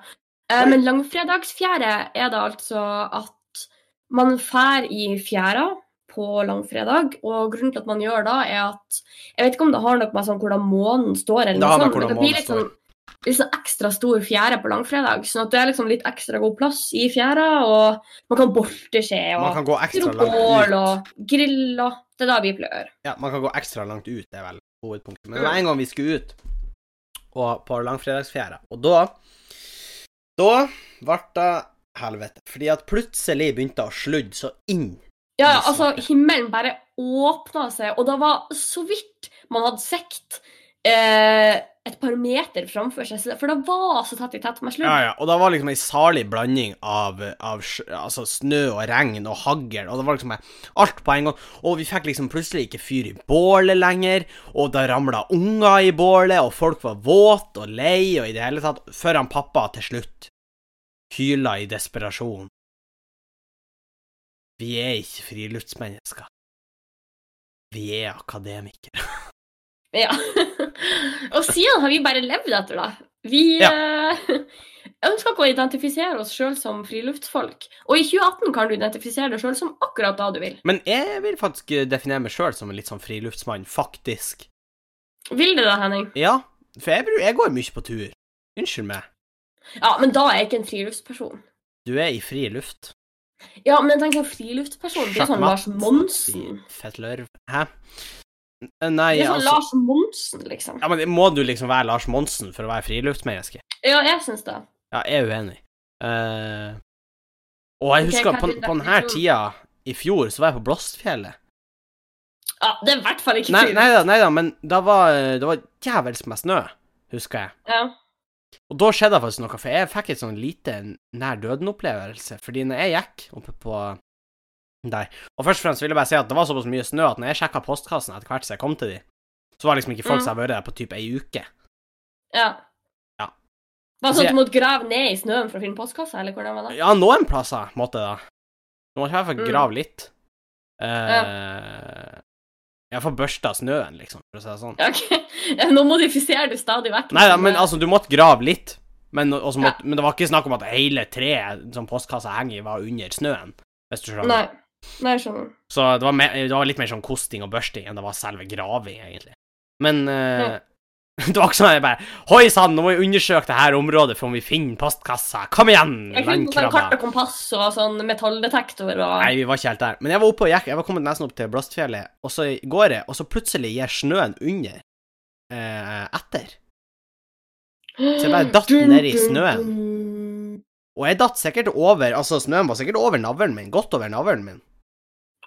A: Eh, men langfredagsfjære er da altså at man fær i fjæra på langfredag, og grunnen til at man gjør da, er at Jeg vet ikke om det har noe med sånn hvordan månen står, eller
B: Det
A: noe
B: har med
A: sånt, men
B: hvordan
A: det blir
B: månen
A: litt sånn, litt sånn ekstra stor fjære på langfredag, sånn at det er liksom litt ekstra god plass i fjæra, og man kan bolte skje, og
B: Man kan gå ekstra
A: Fyre opp
B: langt
A: bål
B: ut.
A: og grill og Det er da vi pleier å gjøre.
B: Ja, man kan gå ekstra langt ut, det er vel hovedpunktet. Men det
A: Mm.
B: var en gang vi skulle ut og på langfredagsfjæra, og da Da ble det helvete. Fordi at plutselig begynte det å sludde så inn.
A: Ja,
B: Yes.
A: altså, himmelen bare åpna seg, og det var så vidt man hadde sett eh, et par meter framfor seg, så- for det var så tett i tett med slurv.
B: Ja, ja, og det var liksom ei salig blanding av, av sj- altså snø og regn og hagl, og det var liksom alt på en gang. Og vi fikk liksom plutselig ikke fyr i bålet lenger, og da ramla unger i bålet, og folk var våte og lei og i det hele tatt, før han pappa til slutt hyla i desperasjon. Vi er ikke friluftsmennesker. Vi er akademikere.
A: Ja. [laughs] og siden har vi bare levd etter det. Vi eh, ønsker ikke å identifisere oss sjøl som friluftsfolk. Og i 2018 kan du identifisere deg sjøl som akkurat da du vil.
B: Men jeg vil faktisk definere meg sjøl som en litt sånn friluftsmann, faktisk.
A: Vil du det, Henning?
B: Ja, for jeg, bru- jeg går mye på tur. Unnskyld meg,
A: Ja, men da er jeg ikke en friluftsperson.
B: du er i fri luft.
A: Ja, men tenk sånn friluftsperson. Det er sånn Lars Monsen.
B: I Fett lørv. Hæ? N- Nei,
A: Mm. Det er sånn
B: altså
A: Lars Monsen, liksom.
B: ja, men Må du liksom være Lars Monsen for å være friluftsmenneske?
A: Ja, jeg syns det.
B: Ja, jeg er uenig. Eh, og jeg
A: Ok,
B: husker
A: hva
B: på,
A: er din
B: på denne
A: definisjon?
B: tida i fjor, så var jeg på Blåstfjellet.
A: Ja, det er i hvert fall ikke
B: Nei,
A: friluftsperson.
B: nei da, nei da, men da var, det var jævels med snø, husker jeg.
A: Ja.
B: Og da skjedde det faktisk noe, for jeg fikk et sånn lite nær døden-opplevelse. Fordi når jeg gikk oppe på der Og først og fremst vil jeg bare si at det var såpass mye snø at når jeg sjekka postkassen etter hvert som jeg kom til de, så var liksom ikke
A: Mm.
B: folk som har vært der på typ ei uke.
A: ja. Var
B: Ja.
A: det
B: Altså,
A: sånn
B: jeg-
A: at du måtte grave ned i snøen for å finne postkassa, eller hvordan var det?
B: Ja, noen plasser måtte jeg da. Du måtte i hvert fall
A: Mm.
B: grave litt. Eh, Jeg får børsta snøen, liksom, for å si det sånn.
A: Ja, ok. [laughs] Nå modifiserer du stadig vekk.
B: Nei da, men
A: liksom.
B: altså, du måtte grave litt. Men, og så måtte, men det var ikke snakk om at hele treet som postkassa henger i, var under snøen. Hvis du skjønner.
A: Nei. Nei, jeg skjønner.
B: Så det var, mer, det var litt mer sånn kosting og børsting enn det var selve graving, egentlig. Men eh, [laughs] det var ikke sånn at jeg bare Hoi sann, nå må vi undersøke det her området for om vi finner postkassa. Kom igjen,
A: Jeg kunne sånn kart
B: landkrabba.
A: og kompass og sånn metalldetektor og
B: Nei, vi var ikke helt der. Men jeg var oppe og gikk. Jeg var kommet nesten opp til Blåstfjellet, og så går jeg, og så plutselig gir snøen under eh, etter. så jeg bare
A: [gasps]
B: datt ned i snøen. Og jeg datt sikkert over Altså, snøen var sikkert over navlen min, godt over navlen min,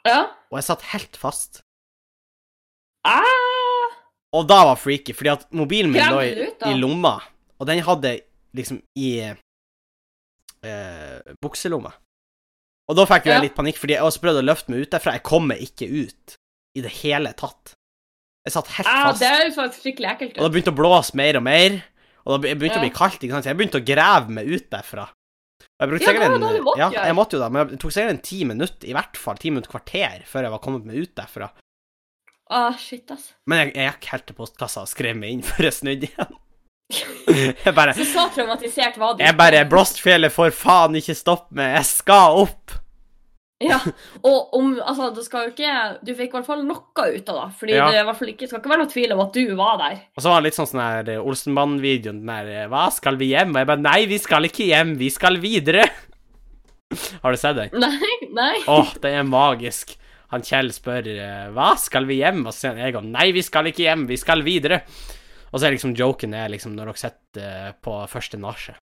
A: Ja.
B: og jeg satt helt fast.
A: Ah,
B: Og da var freaky, fordi at mobilen min lå
A: Krevde
B: i,
A: det ut, da?
B: i lomma, og den hadde liksom i eh, bukselomma. Og da fikk jo
A: Ja.
B: jeg litt panikk, fordi jeg også prøvde å løfte meg ut derfra. Jeg kom meg ikke ut i det hele tatt. Jeg satt helt
A: ah,
B: fast.
A: det er jo faktisk skikkelig ekkelt.
B: Og det begynte å blåse mer og mer, og det be- begynte
A: Ja.
B: å bli kaldt, ikke sant? så jeg begynte å grave meg ut derfra. Og jeg brukte
A: Ja,
B: sikkert
A: det var
B: en,
A: da du måtte
B: ja,
A: gjøre.
B: jeg måtte jo da, men det tok sikkert en ti minutter, i hvert fall ti minutter kvarter, før jeg var kommet meg ut derfra.
A: Ah, shit, ass.
B: Men jeg, jeg gikk helt til postkassa og skrev meg inn [laughs] før jeg snudde igjen. Jeg bare,
A: Så så traumatisert var du.
B: jeg bare Blåstfjellet får faen ikke stoppe meg, jeg skal opp!
A: Ja, og om, altså, du skal jo ikke, du fikk i hvert fall noe ut av det, fordi
B: Ja.
A: det er i hvert fall ikke, skal ikke være noe tvil om at du var der. [laughs]
B: Og så var det litt sånn sånn her eh, Olsenbanen-videoen, den der eh, Hva, skal vi hjem? Og jeg bare Nei, vi skal ikke hjem, vi skal videre! [laughs] Har du sett den?
A: Nei, nei.
B: Åh, det er magisk. Han Kjell spør eh, hva, skal vi hjem? Og så sier han Egon nei, vi skal ikke hjem, vi skal videre. Og så er liksom joken er liksom når dere sitter eh, på første nachet.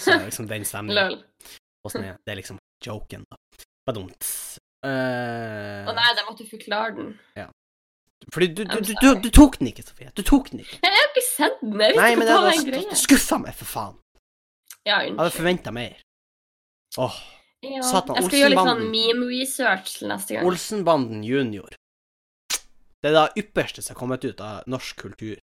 B: Så er det liksom den stemningen.
A: Lol.
B: Og sånn er det. Det er liksom joken, da. Badumt. Eh,
A: Å nei, det måtte du forklare den.
B: fordi du, du,
A: I'm
B: du, du, du tok den ikke, Sofie. Du tok den ikke.
A: Jeg har ikke sett den, jeg
B: Nei,
A: visste
B: men
A: ikke
B: det
A: hva
B: var
A: den
B: sk-
A: greia.
B: skuffa meg, for faen.
A: Ja,
B: Jeg hadde
A: unnskyld.
B: forventa mer. Åh.
A: Ja.
B: Satan,
A: Jeg skal gjøre litt sånn
B: Olsenbanden.
A: meme-research til neste gang.
B: Olsenbanden junior. Det er det ypperste som har kommet ut av norsk kultur.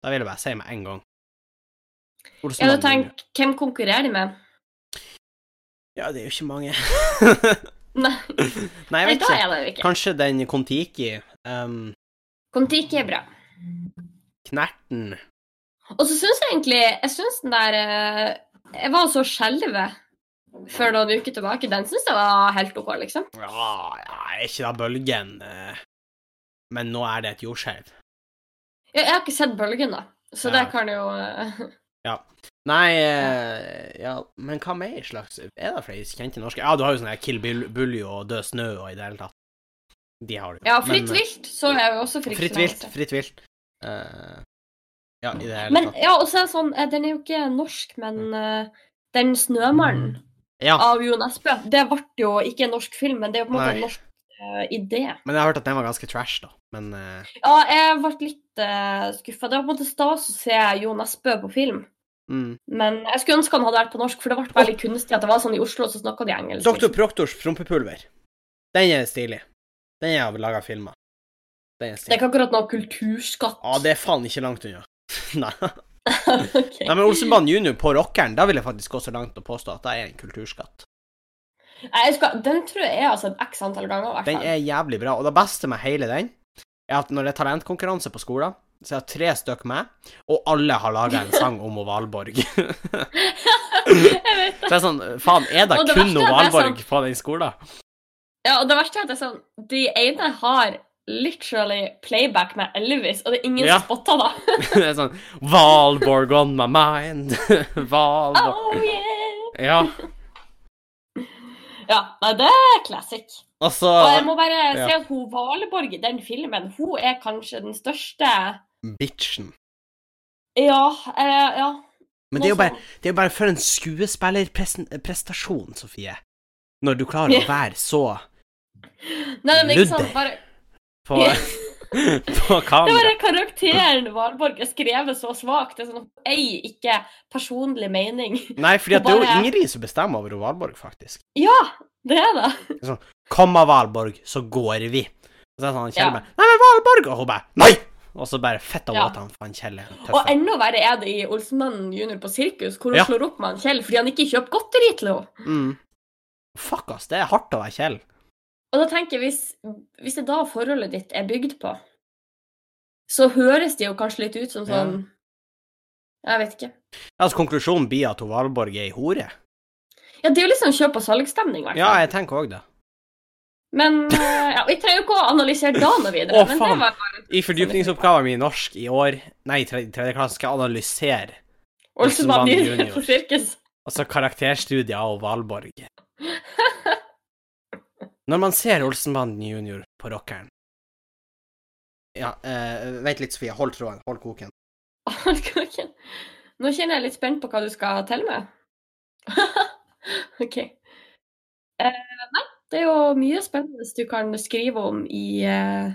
B: Da vil jeg bare si med en gang.
A: Ja, du
B: Olsenbanden junior.
A: tenker, hvem konkurrerer de med? [laughs]
B: Ja, det er jo ikke mange. [laughs]
A: Nei,
B: Nei, jeg
A: nei
B: vet
A: da
B: ikke.
A: er det jo ikke.
B: Kanskje den Kon-Tiki, ehm,
A: Kon-Tiki er bra.
B: Knerten
A: Og så syns jeg egentlig Jeg syns den der eh, Jeg var så skjelvet for noen uker tilbake. Den syns jeg var helt OK, liksom.
B: Ja, ja, er ikke da bølgen eh, Men nå er det et jordskjelv.
A: Jeg, jeg har ikke sett bølgen, da. Så
B: Ja.
A: det kan jo eh, [laughs]
B: Nei, eh, ja, men hva mer slags Er det flere kjente norske Ja, du har jo sånne her Kill Bill- Buljo og Død snø og i det hele tatt. De har du.
A: Ja,
B: Men,
A: Fritt
B: eh,
A: vilt så jeg jo også for ikke
B: Fritt
A: så lenge
B: vilt.
A: siden.
B: Fritt vilt. Eh, ja, Mm. i det hele
A: Men
B: tatt.
A: ja, og så er det sånn eh, Den er jo ikke norsk, men eh, den 'Snømannen'
B: Mm. Ja,
A: av Jo Nesbø, det ble jo ikke en norsk film, men det er jo på en måte
B: Nei.
A: en norsk eh, idé.
B: men jeg har hørt at den var ganske trash, da. Men eh,
A: Ja, jeg ble litt uh, skuffa. Det var på en måte stas å se Jo Nesbø på film.
B: mm.
A: Men jeg skulle ønske han hadde vært på norsk, for det ble veldig kunstig at det var sånn i Oslo, så snakka de engelsk.
B: Dr.
A: liksom.
B: Proktors prompepulver. Den er stilig. Den har vi laga filmer. Den er
A: Det er
B: stilig.
A: ikke akkurat noe kulturskatt.
B: Ja,
A: [laughs]
B: det er faen ikke langt unna. [laughs] Nei. Nei,
A: Ok.
B: men Olsenbanen junior på rockeren, da vil jeg faktisk gå så langt å påstå at det er en kulturskatt.
A: Nei, jeg skal, den tror jeg jeg har sett x antall ganger, i hvert
B: Den
A: fall.
B: er jævlig bra, og det beste med hele den, er at når det er talentkonkurranse på skolen, så er det tre stykk med, og alle har laga en sang om Valborg.
A: [laughs] jeg vet det.
B: Så det er sånn, faen, er det,
A: Og det
B: kun
A: verste er sånn- at det er
B: Valborg på den skolen?
A: Ja, og det verste er at det er sånn, de ene har literally playback med Elvis, og det er ingen
B: Ja.
A: som spotta da.
B: [laughs] det er sånn Valborg on my mind. [laughs]
A: Oh,
B: Valborg
A: yeah.
B: Ja,
A: Ja, nei, det er classic.
B: altså
A: Og jeg må bare
B: Ja.
A: si at hun Valborg i den filmen, hun er kanskje den største
B: Bitchen.
A: Ja, eh, ja.
B: Men det er jo
A: noe
B: bare, det er jo bare for en skuespillerprestasjon, Sofie. Når du klarer å
A: Ja.
B: være så
A: sånn. Nei, men ikke sant,
B: Ludde.
A: bare
B: på, [laughs] på
A: Det var
B: kamera.
A: den karakteren Valborg er skrevet så svakt. Det er sånn, hun eier ikke personlig mening. [laughs]
B: Nei, fordi at det er jo
A: bare-
B: Ingrid som bestemmer over Valborg, faktisk.
A: Ja, det er det.
B: Kommer Valborg, så går vi. Og så er det sånn,
A: Ja.
B: Kjell bare Nei, men Valborg! Og hun bare Nei! Og så bare fitta hun
A: Ja.
B: at han faen Kjell er en
A: Og
B: tøff.
A: enda verre er det i Olsmannen junior på sirkus, hvor hun
B: Ja.
A: slår opp med han Kjell fordi han ikke kjøper godteri til henne.
B: Mm. Fuck, ass. Det er hardt å være Kjell.
A: Og da tenker jeg, hvis, hvis det er da forholdet ditt er bygd på, så høres det jo kanskje litt ut som
B: Ja.
A: sånn Jeg vet ikke.
B: Altså, konklusjonen blir at hun Valborg er ei hore.
A: Ja, det er jo liksom kjøp- og salgsstemning, i hvert
B: Ja,
A: fall.
B: jeg tenker òg det.
A: Men eh, ja, vi trenger jo ikke å analysere da noe videre.
B: Å,
A: men
B: faen.
A: det var bare
B: I fordypningsoppgaven min i norsk i år, nei, i tredje tredje klasse, skal jeg analysere
A: Olsenmannen
B: Olsenmannen
A: junior
B: junior.
A: på sirkus.
B: altså karakterstudier av Valborg.
A: [laughs]
B: Når man ser Olsenbanden junior på rockeren Ja, eh, vent litt, Sofie. Hold tråden. Hold koken.
A: Alkoken. Nå kjenner jeg litt spent på hva du skal telle med. [laughs] OK. Eh, nei, det er jo mye spennende du kan skrive om i eh,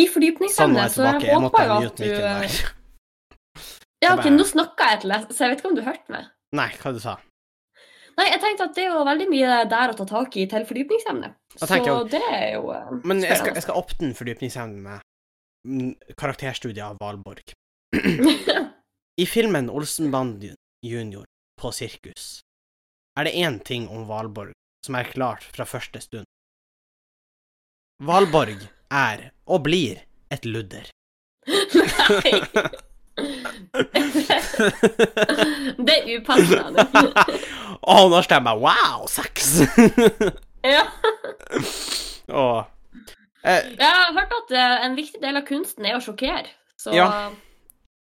A: i
B: Sånn, nå
A: fordypningsemnet,
B: er jeg
A: så jeg
B: tilbake. Jeg måtte
A: håper jo at
B: mute
A: du
B: mikken
A: eh,
B: der.
A: Ja,
B: Det
A: OK,
B: var-
A: nå snakka jeg til deg, så jeg vet ikke om du hørte meg.
B: [laughs] Nei, hva du sa
A: Nei, jeg tenkte at det er jo veldig mye der å ta tak i til fordypningsemnet.
B: Da
A: Så
B: tenker jeg
A: det er jo eh, [laughs]
B: Men jeg skal,
A: spennende.
B: jeg skal opp den fordypningsevnen med mm, karakterstudier av Valborg. [laughs] I filmen Olsenbanden junior på sirkus er det én ting om Valborg som er klart fra første stund. Valborg er, og blir, et ludder.
A: Nei! [laughs] det er upassende. [laughs]
B: og når stemmer wow, sex! [laughs]
A: ja.
B: og eh,
A: Jeg har hørt at eh, en viktig del av kunsten er å sjokkere. Så
B: Ja.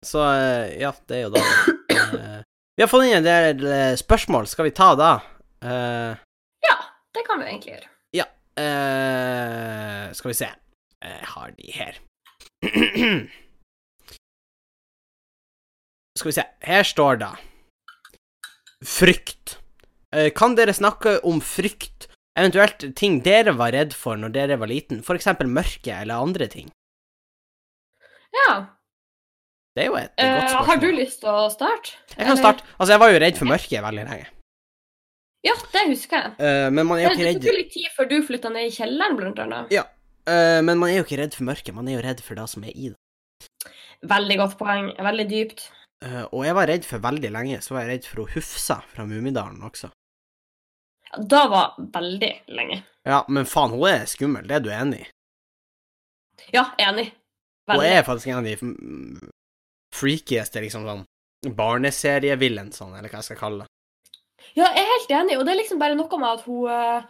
B: Så eh, ja, det er jo da eh, Vi har fått inn en del eh, spørsmål. Skal vi ta da? Eh,
A: ja, det kan vi egentlig gjøre.
B: Eh, skal vi se. Jeg har de her. [clears throat] skal vi se. Her står det Frykt. Eh, kan dere snakke om frykt, eventuelt ting dere var redd for når dere var liten, for eksempel mørke eller andre ting?
A: Ja.
B: Det er jo et,
A: eh,
B: godt spørsmål.
A: har du lyst til å starte?
B: Jeg
A: eller?
B: kan starte. Altså, jeg var jo redd for mørket veldig lenge.
A: Ja, det husker jeg.
B: Eh, men man er jo
A: Men
B: ikke
A: det
B: redd
A: tok jo litt tid før du flytta ned i kjelleren, blant annet.
B: Eh, Men man er jo ikke redd for mørket, man er jo redd for det som er i det.
A: Veldig godt poeng. Veldig dypt.
B: Eh, og jeg var redd for veldig lenge, så var jeg redd for hun Hufsa fra Mummidalen også.
A: Ja, Da var veldig lenge.
B: Ja, men faen, hun er skummel, det er du enig i?
A: Ja, enig.
B: Hun
A: Veldig.
B: er faktisk en av de mm, freakieste, liksom sånn barneserievillensene, eller hva jeg skal kalle det.
A: Ja, jeg er helt enig, og det er liksom bare noe med at hun eh,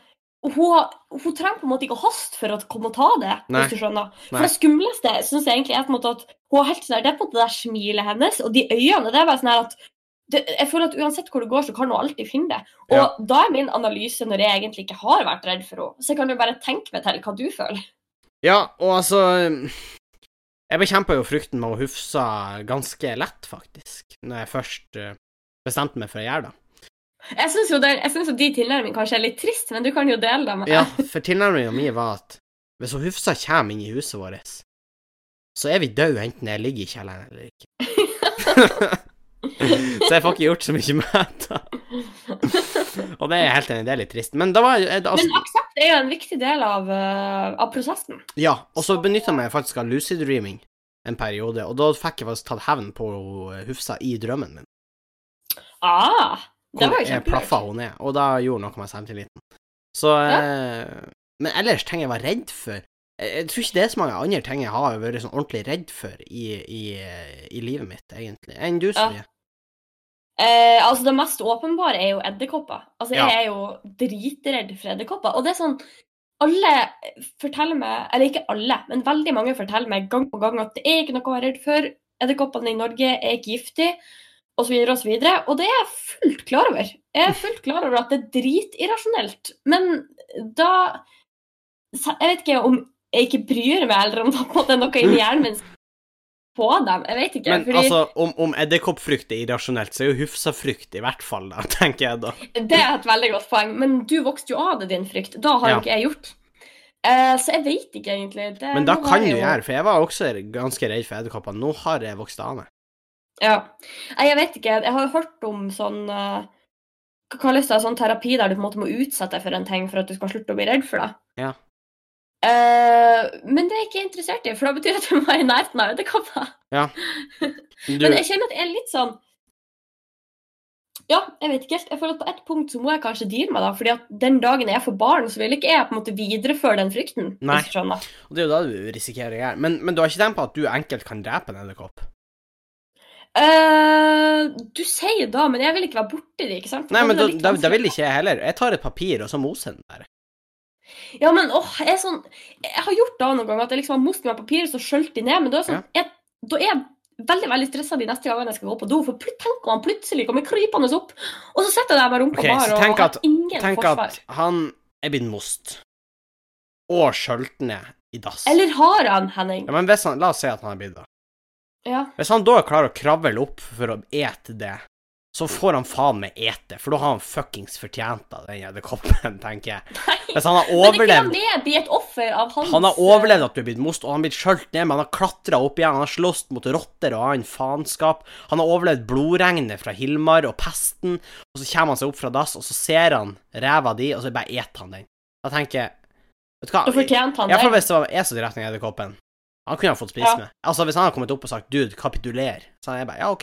A: hun, hun trenger på en måte ikke å haste for å komme og ta det,
B: Nei.
A: hvis du skjønner. For
B: Nei.
A: det skumleste synes jeg egentlig er på en måte at hun har helt sånn her, det er på en måte det der smilet hennes, og de øynene, det er bare sånn her at det, jeg føler at uansett hvor du går, så kan hun alltid finne det. Og
B: Ja.
A: da er min analyse, når jeg egentlig ikke har vært redd for henne, så jeg kan jo bare tenke meg til hva du føler.
B: Ja, og altså mm, Jeg bekjempa jo frykten med å Hufsa ganske lett, faktisk, når jeg først eh, bestemte meg for å gjøre det.
A: Jeg synes jo, det, jeg synes jo de tilnærmingene kanskje er litt trist, men du kan jo dele dem.
B: Ja, for tilnærminga mi var at hvis hun Hufsa kommer inn i huset vårt, så er vi døde enten jeg ligger i kjelleren eller ikke. [laughs] så jeg får ikke gjort så mye med det. Og det er jeg helt enig, i, det er litt trist. Men da var jeg, altså,
A: Men aksept er jo en viktig del av, eh, av prosessen.
B: Ja, og så benytta jeg meg faktisk av lucid dreaming en periode, og da fikk jeg faktisk tatt hevn på eh, Hufsa i drømmen min.
A: Ah, det
B: Hvor
A: var jo
B: jeg
A: kjempelurt.
B: plaffa henne ned, og da gjorde noe med selvtilliten. Så eh, Men ellers ting jeg var redd for jeg, jeg tror ikke det er så mange andre ting jeg har vært sånn ordentlig redd for i, i, i livet mitt, egentlig, enn du,
A: Ja.
B: Sofie.
A: Eh, altså Det mest åpenbare er jo edderkopper. Altså Jeg
B: Ja.
A: er jo dritredd for edderkopper. Og det er sånn alle forteller meg, eller ikke alle, men veldig mange forteller meg gang på gang at det er ikke noe å være redd for, edderkoppene i Norge er ikke giftige, osv., osv. Og det er jeg fullt klar over. Jeg er fullt klar over at det er dritirrasjonelt. Men da Jeg vet ikke om jeg ikke bryr meg, eller om det på en måte er noe inni hjernen min som på dem. Jeg vet ikke.
B: Men
A: fordi
B: altså, om, om edderkoppfrykt er irrasjonelt, så er jo Hufsafrykt i hvert fall, da, [laughs] tenker jeg da.
A: Det er et veldig godt poeng. Men du vokste jo av det, din frykt. Da har
B: Ja.
A: jo ikke jeg gjort. Eh, så jeg vet ikke, egentlig. Det,
B: Men da
A: nå var
B: kan
A: jeg
B: du
A: jo-
B: gjøre, for jeg var også ganske redd for edderkoppene. Nå har jeg vokst av meg.
A: Ja. Nei, jeg vet ikke. Jeg har jo hørt om sånn eh, Hva kalles det? Sånn terapi der du på en måte må utsette deg for en ting for at du skal slutte å bli redd for det.
B: Ja.
A: Eh, men det er jeg ikke interessert i, for da betyr det at du må være i nærheten av edderkopper.
B: Du,
A: Men jeg kjenner at jeg er litt sånn Ja, jeg vet ikke helt. Jeg føler at På et punkt så må jeg kanskje deale med det. fordi at den dagen jeg får barn, så vil ikke jeg på en måte videreføre den frykten.
B: Nei.
A: hvis du skjønner.
B: og det er jo da du risikerer å gjøre. Men, men du har ikke tenkt på at du enkelt kan drepe en edderkopp?
A: Eh, du sier da, men jeg vil ikke være borti det, ikke sant? For
B: Nei, men
A: blir
B: da,
A: det litt sånn
B: da, da
A: vanskelig.
B: vil ikke jeg heller. Jeg tar et papir, og så moser jeg den der.
A: Ja, men åh, jeg er sånn Jeg har gjort det noen ganger at jeg liksom har most meg papiret, så skjølt de ned, men da er, sånn, jeg, da er jeg veldig veldig stressa de neste gangene jeg skal gå på do, for plut, tenk om han plutselig kommer krypende opp, og så sitter jeg der med rumpa
B: Ok, så
A: bar og
B: tenk
A: har
B: at-
A: ingen
B: Tenk
A: forsvar.
B: at han er blitt most, og skjølt ned i dass.
A: Eller har han, Henning?
B: Ja, men hvis han, la oss si at han er blitt det.
A: Ja.
B: Hvis han da klarer å kravle opp for å ete det, så får han faen meg ete, for da har han fuckings fortjent av den edderkoppen, [laughs] tenker jeg.
A: Nei.
B: Hvis han har
A: Men ikke la
B: overlevd
A: meg bli et offer av hans
B: Han har overlevd at du er blitt most, og han har blitt skjølt ned, men han har klatra opp igjen, han har slåss mot rotter og annen faenskap, han har overlevd blodregnet fra Hilmar og pesten, og så kommer han seg opp fra dass, og så ser han ræva di, og så bare eter han den. Da tenker jeg Vet du hva?
A: Da fortjente eh, han
B: Ja, for
A: det.
B: hvis det var jeg som drepte den edderkoppen Han kunne ha fått spise
A: Ja.
B: med. Altså, hvis han hadde kommet opp og sagt 'dude, kapituler', så hadde jeg bare 'ja, ok,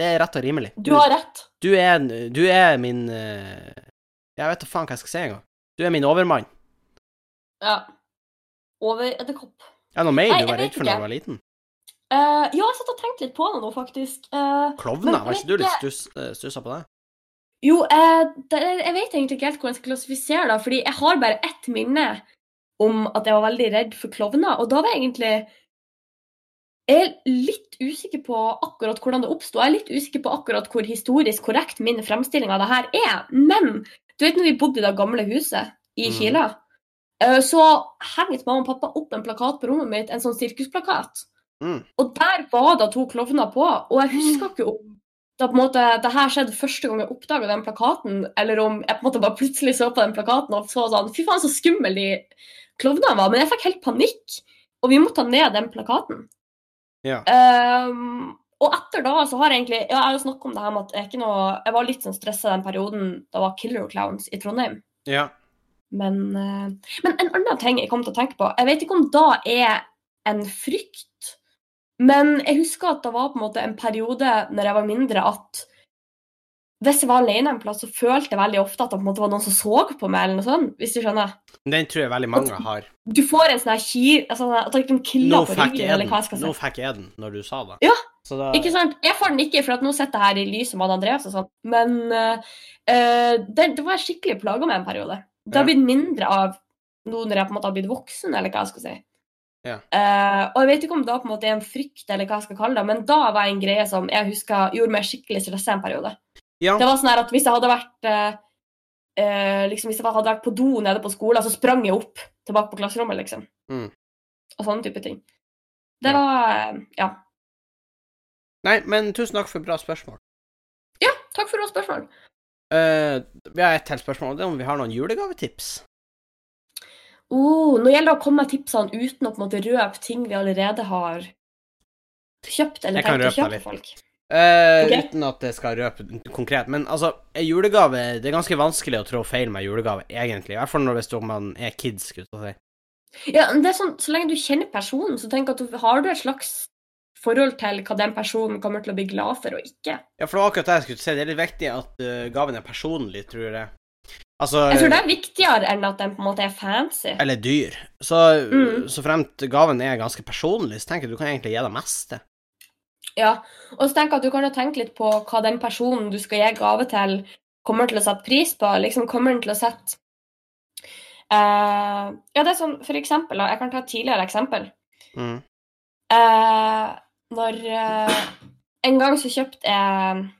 B: det er rett og rimelig'.
A: Du har rett.
B: du, er, en- du er min eh, Jeg vet da faen hva jeg skal si engang. Du er min overmann.
A: Ja. Over edderkopp.
B: Er det noe mer
A: Nei,
B: du
A: jeg vet
B: var redd for da
A: ikke.
B: du var liten?
A: Eh, ja, jeg satt og tenkte litt på det nå, faktisk. Eh,
B: Klovner?
A: Men
B: Var
A: jeg
B: ikke du
A: vet
B: litt stuss, eh, stussa på det?
A: Jo, eh, det, jeg vet egentlig ikke helt hvordan jeg skal klassifisere det, fordi jeg har bare ett minne om at jeg var veldig redd for klovner, og da var jeg egentlig jeg er litt usikker på akkurat hvordan det oppsto. Jeg er litt usikker på akkurat hvor historisk korrekt min fremstilling av det her er. Men du vet når vi bodde i det gamle huset i
B: Mhm.
A: Kila, eh, så hengte mamma og pappa opp en plakat på rommet mitt, en sånn sirkusplakat.
B: Mm.
A: Og der var det to klovner på, og jeg husker ikke om da på en måte, det her skjedde første gang jeg oppdaga den plakaten, eller om jeg på en måte bare plutselig så på den plakaten og så sånn Fy faen, så skummel de klovnene var. Men jeg fikk helt panikk, og vi måtte ta ned den plakaten.
B: Ja.
A: Ehm, og etter da så har jeg egentlig Ja, jeg har jo snakket om det her med at jeg, er ikke noe, jeg var litt sånn stressa den perioden da var Killer Clowns i Trondheim.
B: Ja.
A: Men, eh, men en annen ting jeg kom til å tenke på Jeg vet ikke om da er en frykt, men jeg husker at det var på en måte en periode når jeg var mindre, at hvis jeg var alene en plass, så følte jeg veldig ofte at det på en måte var noen som så på meg, eller noe sånt, hvis du skjønner.
B: Den tror jeg veldig mange har.
A: Du får en sånn her kir... Altså, at det liksom
B: Nå
A: killer på
B: fikk
A: ryggen,
B: jeg
A: eller hva jeg
B: den
A: skal
B: Nå
A: si.
B: fikk jeg den når du sa det.
A: Ja.
B: Så da
A: Ikke sant? Jeg får den ikke, for at nå sitter jeg her i lyset med Andreas og sånn, men eh, eh, det, det var jeg skikkelig plaga med en periode. Det
B: Ja.
A: har blitt mindre av nå når jeg på en måte har blitt voksen, eller hva jeg skal si.
B: Ja.
A: Eh, og jeg vet ikke om det på en måte er en frykt, eller hva jeg skal kalle det, men da var en greie som jeg husker gjorde meg skikkelig stressa en periode.
B: Ja.
A: Det var sånn her at hvis jeg hadde vært eh, eh, liksom Hvis jeg hadde vært på do nede på skolen, så sprang jeg opp tilbake på klasserommet, liksom.
B: Mm.
A: Og sånne type ting. Det
B: Ja.
A: var eh, Ja.
B: Nei, men tusen takk for bra spørsmål.
A: Takk for bra spørsmål.
B: Eh, vi har et til spørsmål, og det er om vi har noen julegavetips.
A: Oh, når det gjelder å komme med tipsene uten å på en måte røpe ting vi allerede har kjøpt eller
B: Jeg kan
A: tenkt å
B: røpe
A: kjøpe
B: litt.
A: folk.
B: Eh,
A: Ok.
B: Uten at det skal røpe konkret. Men altså, en julegave Det er ganske vanskelig å trå feil med julegave, egentlig. I hvert fall når hvis du- man er kids, skulle jeg til å si.
A: Ja, men det er sånn, Så lenge du kjenner personen, så tenk at du, har du et slags forhold til hva den personen kommer til å bli glad for og ikke.
B: Ja, for det var akkurat det jeg skulle si. Det er litt viktig at eh, gaven er personlig, tror jeg. Altså
A: Jeg tror det er viktigere enn at den på en måte er fancy.
B: Eller dyr. Så,
A: Mm.
B: så fremt gaven er ganske personlig, så tenker jeg du kan egentlig gi det meste.
A: Ja, Og så tenk at du kan jo tenke litt på hva den personen du skal gi gave til, kommer til å sette pris på. liksom Kommer den til å sette Eh, ja, det er sånn, for eksempel, da, jeg kan ta et tidligere eksempel.
B: Mm.
A: Eh, når eh, En gang så kjøpte jeg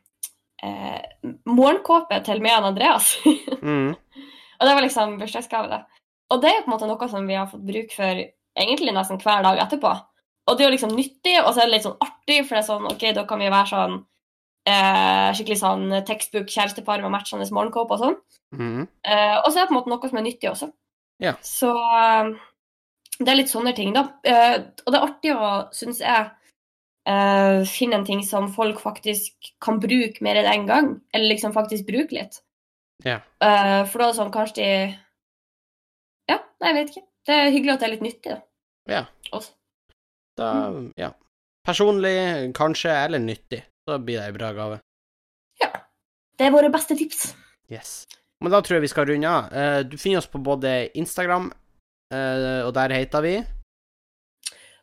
A: eh, morgenkåpe til meg og Andreas. [laughs]
B: Mm.
A: og det var liksom bursdagsgave, det. Og det er jo på en måte noe som vi har fått bruk for egentlig nesten hver dag etterpå. Og det er jo liksom nyttig, og så er det litt sånn artig, for det er sånn OK, da kan vi være sånn eh, skikkelig sånn tekstbook-kjærestepar med matchende morgenkåpe og sånn.
B: Mm.
A: Eh, og så er det på en måte noe som er nyttig også.
B: Ja.
A: Så eh, det er litt sånne ting, da. Eh, og det er artig å, syns jeg, eh, finne en ting som folk faktisk kan bruke mer enn én en gang, eller liksom faktisk bruke litt.
B: Ja.
A: Eh, for da er det sånn kanskje de Ja, nei, jeg vet ikke. Det er hyggelig at det er litt nyttig, da.
B: Ja.
A: Også.
B: Da,
A: Mm.
B: ja. Personlig, kanskje, eller nyttig. Da blir det ei bra gave.
A: Det er våre beste tips.
B: Yes. Men da tror jeg vi skal runde av. Eh, Du finner oss på både Instagram, eh, og der heter vi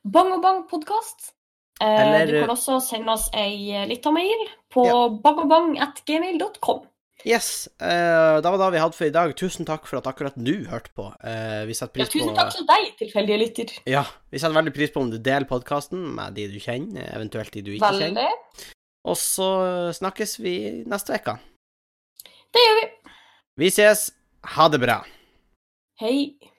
A: Bang og bang podkast. Eh,
B: Eller-
A: du kan også sende oss ei eh, lyttermail på
B: Ja.
A: bangogbangatgmail.com.
B: Yes. eh, Da var det vi hadde for i dag. Tusen takk for at akkurat du hørte på. Eh, Vi setter
A: Ja,
B: pris på
A: tusen takk til deg, tilfeldige lytter.
B: Ja, vi setter veldig pris på om du deler podkasten med de du kjenner, eventuelt de du ikke kjenner.
A: Veldig.
B: Og så snakkes vi neste uke.
A: Det gjør vi.
B: Vi ses. Ha det bra.
A: Hei.